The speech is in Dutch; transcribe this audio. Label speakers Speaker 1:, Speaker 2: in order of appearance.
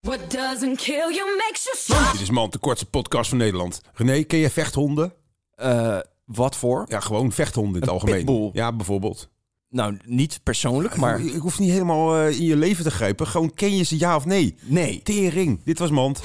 Speaker 1: What doesn't kill you makes you
Speaker 2: Dit is man, de kortste podcast van Nederland. René, ken je vechthonden?
Speaker 3: Eh, wat voor?
Speaker 2: Ja, gewoon vechthonden in het algemeen.
Speaker 3: pitbull.
Speaker 2: Ja, bijvoorbeeld.
Speaker 3: Nou, niet persoonlijk, maar
Speaker 2: Ik hoef niet helemaal eh, in je leven te grijpen. Gewoon ken je ze ja of nee?
Speaker 3: nee.
Speaker 2: Tering. Dit was Mand.